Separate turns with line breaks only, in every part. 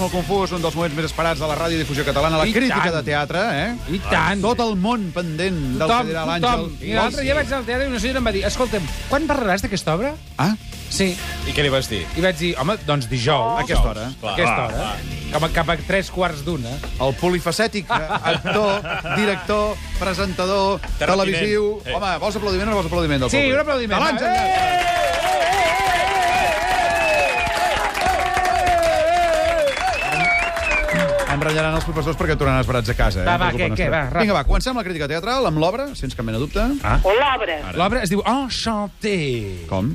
molt confús, un dels moments més esperats de la radiodifusió catalana, la
I
crítica
tant.
de teatre, eh?
I tant.
Tot el món pendent del
Tothom,
que dirà
tothom.
l'Àngel.
Mira, L'altre dia vaig anar al teatre i una senyora em va dir escolta'm, quan parlaràs d'aquesta obra?
Ah,
Sí.
I què li vas dir?
I vaig dir, home, doncs dijous.
A Oh, aquesta hora.
A aquesta hora. eh? Cap a, cap a tres quarts d'una.
el polifacètic eh, actor, director, presentador,
Terratinent.
televisiu...
Eh.
Home, vols aplaudiment o no vols aplaudiment del
Sí,
públic?
un aplaudiment.
De
eh?
l'Àngel. Enrotllaran els professors perquè tornaran esperats a casa. Eh?
eh. Va, va,
No us ho
què,
poden
què,
esperar.
va, ràpid.
Vinga, va, comencem la crítica teatral amb l'obra, sense cap mena de dubte. Ah.
O l'obra.
L'obra es diu Enchanté.
Com?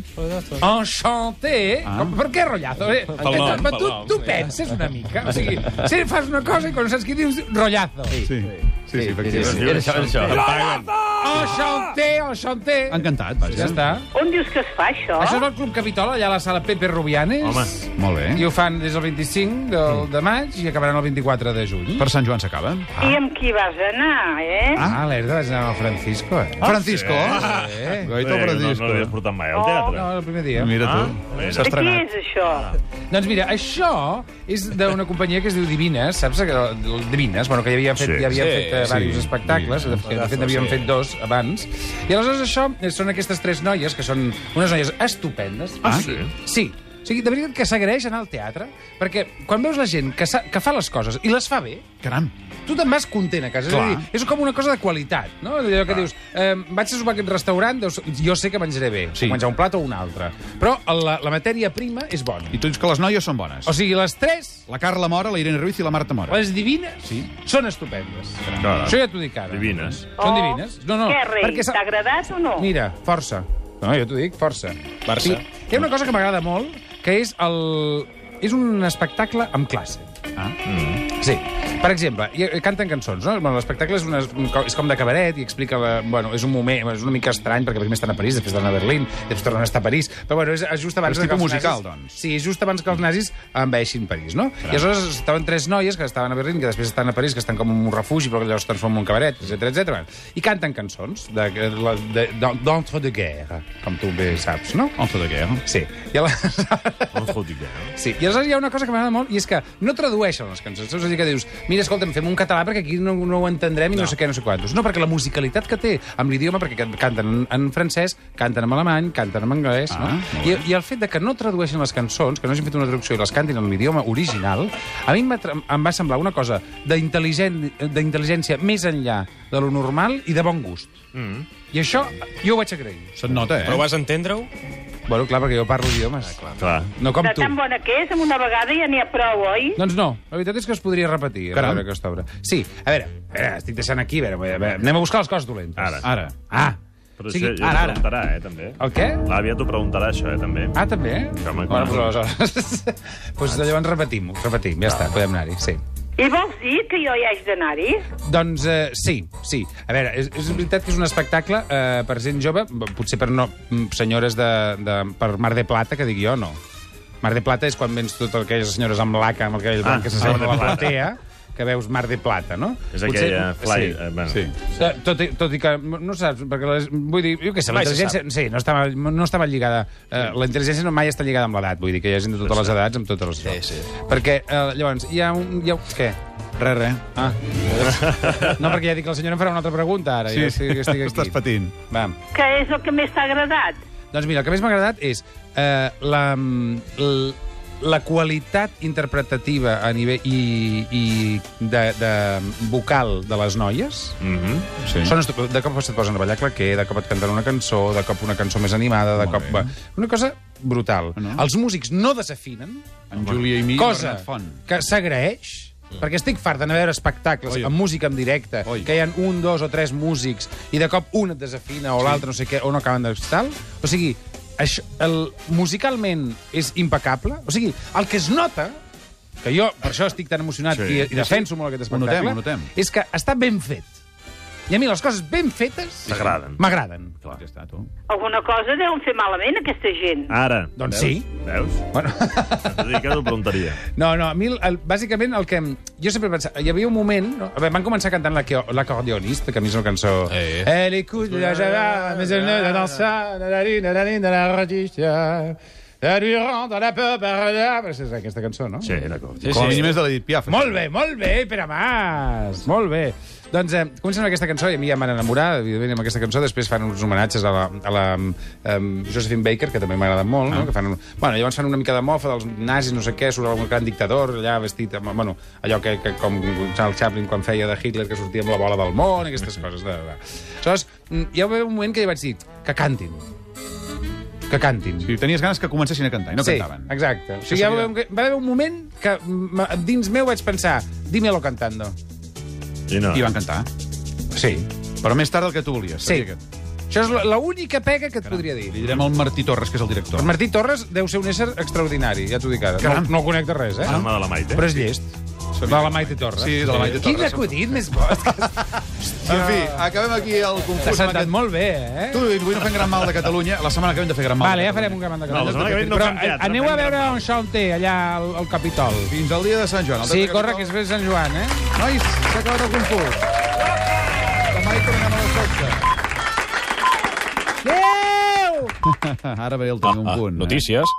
Enchanté?
Ah.
Com, per què rotllazo? Eh,
Pel nom,
tu, tu,
pel nom.
tu penses una mica. O sigui, si fas una cosa i quan no saps què dius, rotllazo. Sí.
Sí, sí, sí, efectivament.
sí, era això, era això.
Em paguen.
Enchanté, enchanté.
Encantat, vaja.
Ja està.
Ah.
On dius que es fa, això?
Això és el Club Capitol, allà a la sala Pepe Rubianes.
Home.
Molt
I
bé.
ho fan des del 25 del, de maig i acabaran el 24 de juny.
Per Sant Joan s'acaba.
I amb qui vas anar, eh?
Ah, l'Erda vaig anar amb el Francisco. Eh?
Ah, Francisco.
Eh?
Gaito
Eh, no, no l'havies
Francisco.
portat mai
Oh.
al teatre.
No, el primer dia.
Mira tu,
Ah,
s'ha
de qui
estrenat.
és això?
Doncs mira, això és d'una companyia que es diu Divines, saps? Que, Divines, bueno, que ja havien fet,
Sí.
ja havien
Sí,
fet eh,
sí,
diversos espectacles, de fet, de fet n'havien
sí.
fet dos abans. I aleshores això eh, són aquestes tres noies, que són unes noies estupendes.
Ah,
O sigui, Sí. O sigui, de veritat que s'agraeix anar al teatre, perquè quan veus la gent que, sa- que fa les coses i les fa bé,
Caram.
tu te'n vas content a casa. És, a
Clar.
dir, és com una cosa de qualitat, no? Allò que dius, eh, vaig a sopar a aquest restaurant, deus, jo sé que menjaré bé,
Sí.
sí. menjar un plat o un altre. Però la, la matèria prima és bona.
I tu dius que les noies són bones.
O sigui, les tres,
La Carla Mora, la Irene Ruiz i la Marta Mora.
les divines, sí. són estupendes.
Clar.
Això ja t'ho dic ara.
Divines.
Són divines? No, no.
Oh, Què, rei?
perquè sa-
T'ha agradat o no?
Mira, força. No, jo t'ho dic, força.
Barça.
hi ha una cosa que m'agrada molt, que és el... És un espectacle amb classe. Mm.
Ah.
Sí. Per exemple, hi ha- canten cançons, no? Bueno, L'espectacle és, una, és com de cabaret i explica... La, bueno, és un moment, és una mica estrany, perquè primer estan a París, després tornen a Berlín, després tornen a estar a París, però bueno, és, és just abans...
És
de que
tipus
els
musical,
nazis-
doncs.
Sí, és just abans que els nazis envaeixin París, no? I aleshores estaven tres noies que estaven a Berlín, que després estan a París, que estan com en un refugi, però que llavors es transformen en un cabaret, etc etc. I canten cançons de- de- de- d'entre-de-guerre, com tu bé saps, no?
On de què?
Sí. I aleshores...
On fot i què, no?
Sí, i aleshores hi ha una cosa que m'agrada molt, i és que no tradueixen les cançons. És a dir, que dius, mira, escolta'm, fem un català perquè aquí no, no ho entendrem i no. no sé què, no sé quantos. No, perquè la musicalitat que té amb l'idioma, perquè can- canten en, en francès, canten en alemany, canten en anglès,
Ah,
no?
molt
I, I el fet de que no tradueixin les cançons, que no hagin fet una traducció i les cantin en l'idioma original, a mi em va, tra- em va semblar una cosa d'intel·ligent- d'intel·ligència més enllà de lo normal i de bon gust. Mm. I això jo ho vaig agrair.
Se't nota, eh?
Però vas entendre-ho?
Bueno, clar, perquè jo parlo idiomes.
Clar.
No com
De
tu.
tan bona que és, amb una vegada ja n'hi ha prou, oi?
Doncs no, la veritat és que es podria repetir a
Caram.
veure aquesta obra. Sí, a veure, a veure estic deixant aquí, a veure, a veure, anem a buscar les coses dolentes.
Ara.
Ara.
Ah,
Però
O sigui,
això ja
ara,
t'ho
ara.
preguntarà, eh, també.
el què?
L'àvia t'ho preguntarà, això, eh, també.
Ah, també?
Home,
bueno,
clar.
doncs aleshores... doncs llavors repetim-ho, repetim, ja està, podem anar-hi, sí.
I vols dir que jo hi haig d'anar-hi?
Doncs eh, sí, sí. A veure, és, és veritat que és un espectacle eh, per gent jove, b- potser per no, mm, senyores de, de, per Mar de Plata, que dic jo, no. Mar de Plata és quan vens totes aquelles senyores amb laca, amb el cabell blanc, que s'asseuen
Ah, Mar de
a la
Plata.
platea, que veus Mar de Plata, no?
És aquella
Sí.
fly... eh, bueno.
Sí.
Sí. Tot, i, tot i que no saps, perquè les, vull dir, jo què sé, la
Mai se
intel·ligència... Sí, no està, mal- no està mal lligada. Eh, la intel·ligència no mai està lligada amb l'edat, vull dir que hi ha gent de totes les edats, amb totes les edats.
sí.
Perquè, eh, llavors, hi ha un... Hi ha... Què?
Re, re.
Ah. No, perquè ja dic que el senyor em farà una altra pregunta, ara.
Sí,
ja estic, estic aquí.
Estàs patint.
Va.
Que és el que més t'ha agradat?
Doncs mira, el que més m'ha agradat és eh, la, l- la qualitat interpretativa a nivell i, i de, de vocal de les noies.
Mhm.
Sí.
Són estu... De cop et posen a ballar claqué, de cop et canten una cançó, de cop una cançó més animada, de
Molt
cop...
bé. Ah,
Una cosa brutal.
No?
Els músics no desafinen,
En Júlia i mi,
cosa
Bernat Font. Mm.
que s'agraeix, perquè estic fart d'anar a veure espectacles
Oi.
amb música en directe,
Oi.
que hi ha un, dos o tres músics, i de cop un et desafina o l'altre no sé què, o no acaben de tal. O sigui, això, el, musicalment és impecable. O sigui, el que es nota, que jo per això estic tan emocionat
Sí.
i, i defenso molt aquest
Ho notem,
espectacle,
ho notem.
és que està ben fet. I a mi les coses ben fetes...
T'agraden.
M'agraden.
Ja està, tu.
Alguna cosa deuen fer malament, aquesta gent.
Ara.
Doncs
Veus?
sí.
Veus?
Bueno...
T'ho dic que t'ho preguntaria.
No, no, a mi, el, el, bàsicament, el que... em- Jo sempre pensava... Hi havia un moment... No? A veure, van començar cantant l'aque- l'acordeonista, que a mi és una cançó...
Eh.
Eh, l'écoute de la java, mais elle ne la dansa, na la lune, na la lune, na la registra... Durant de la peur, és aquesta cançó, no?
Sí, d'acord.
Com a mínim és de l'Edith Piaf.
Molt bé, molt bé, Pere Mas! Molt bé. Doncs eh, comencem amb aquesta cançó, i a mi ja em van enamorar, evidentment, amb aquesta cançó. Després fan uns homenatges a la, a la um, Josephine Baker, que també m'agrada molt, no? Que fan un... Bueno, llavors fan una mica de mofa dels nazis, no sé què, surt algun gran dictador allà vestit amb... Bueno, allò que, que com Charles Chaplin quan feia de Hitler, que sortia amb la bola del món, aquestes coses. De, de. Aleshores, mm, hi va haver un moment que jo vaig dir que cantin. Que cantin.
Si tenies ganes que comencessin a cantar i no
sí,
cantaven.
exacte. O
Això
sigui, ja
seria-
va, haver un- va haver un moment que m- dins meu vaig pensar dímelo cantando.
I no.
I van cantar.
Sí.
Però més tard del que tu volies.
Sí.
sabia Que...
Això és la- l'única pega que et podria
Li
dir.
direm al Martí Torres, que és el director.
El Martí Torres deu ser un ésser extraordinari, ja t'ho dic ara. No,
Caram.
no el conec de res, eh?
Home de la Maite.
Però és llest.
Sabia
De
que
la
era
Maite Torres.
Sí, de la Maite
Quin
Torres.
acudit més bo.
En fi, acabem aquí el
T'ha
concurs. amb
sentat
aquest-
molt bé, eh?
Tu, avui no fem gran mal de Catalunya. La setmana que ve hem de fer gran mal.
Vale,
de
ja farem
Catalunya.
un gran de
No, la setmana que ve no
Però eh,
fem teatre,
aneu
fem
a veure
drama.
on Xaunté, allà al, al Capitol.
Fins al dia de Sant Joan. El
Sí,
Teatre
corre, que
Capitol.
és ve Sant Joan, eh?
Nois, s'ha acabat el concurs. Demà hi tornem a les 12.
Adéu!
Ara ve el tenir un punt. eh?
Ah, Notícies.